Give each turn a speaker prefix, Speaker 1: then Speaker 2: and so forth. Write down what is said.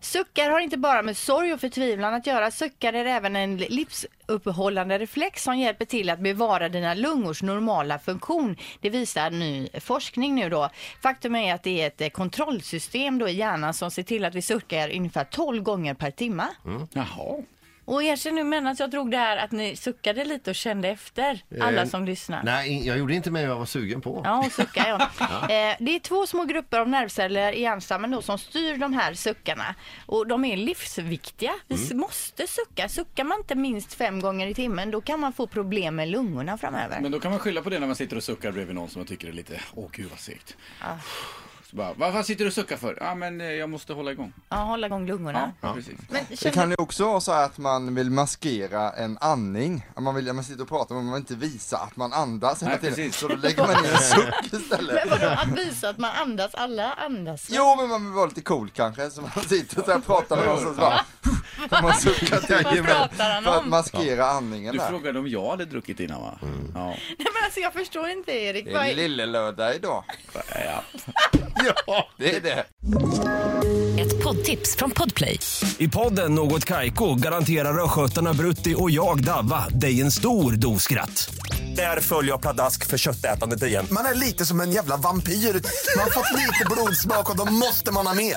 Speaker 1: Suckar har inte bara med sorg och förtvivlan att göra. Suckar är även en livsuppehållande reflex som hjälper till att bevara dina lungors normala funktion. Det visar ny forskning nu då. Faktum är att det är ett eh, kontrollsystem då i hjärnan som ser till att vi suckar ungefär 12 gånger per timme.
Speaker 2: Och erkänn nu medan att jag drog det här att ni suckade lite och kände efter, alla
Speaker 3: Eh,
Speaker 2: som lyssnar.
Speaker 3: Nej, jag gjorde inte mer än jag var sugen på.
Speaker 2: Ja, och suckar jag.
Speaker 1: Eh, det är två små grupper av nervceller i hjärnstammen då som styr de här suckarna. Och de är livsviktiga. Vi
Speaker 4: Mm.
Speaker 1: s- måste sucka. Suckar man inte minst fem gånger i timmen då kan man få problem med lungorna framöver.
Speaker 5: Men då kan man skylla på det när man sitter och suckar bredvid någon som man tycker är lite, åh gud vad segt. Så bara, vad fan sitter du och suckar för? Ja men eh, jag måste hålla igång.
Speaker 1: Ja, hålla igång lungorna.
Speaker 5: Precis.
Speaker 1: Men
Speaker 4: Det
Speaker 1: känner...
Speaker 4: kan ju också vara så här att man vill maskera en andning. Att man, vill, man sitter och pratar men man vill inte visa att man andas hela
Speaker 5: Nej,
Speaker 4: tiden.
Speaker 5: precis.
Speaker 4: Så då lägger man in en suck
Speaker 1: Men
Speaker 4: istället.
Speaker 1: vadå, att visa att man andas? Alla andas.
Speaker 4: Jo men man vill vara lite cool kanske så man sitter så här och pratar med någon så bara så man suckar till
Speaker 2: Vad pratar han
Speaker 4: för att
Speaker 2: om?
Speaker 4: maskera andningen
Speaker 5: Du
Speaker 4: där.
Speaker 5: frågade om jag hade druckit innan va? Ja.
Speaker 1: Nej, men alltså jag förstår inte Erik.
Speaker 4: Det
Speaker 1: Vad
Speaker 4: är
Speaker 1: är...
Speaker 4: lillelördag idag.
Speaker 3: Ja.
Speaker 4: Det är det.
Speaker 6: Ett poddtips från Podplay.
Speaker 7: I podden Något Kaiko garanterar östgötarna Brutti och jag, Davva, dig en stor dos skratt. Där följer jag pladask för köttätandet igen.
Speaker 8: Man är lite som en jävla vampyr. Man har fått lite blodsmak och då måste man ha mer.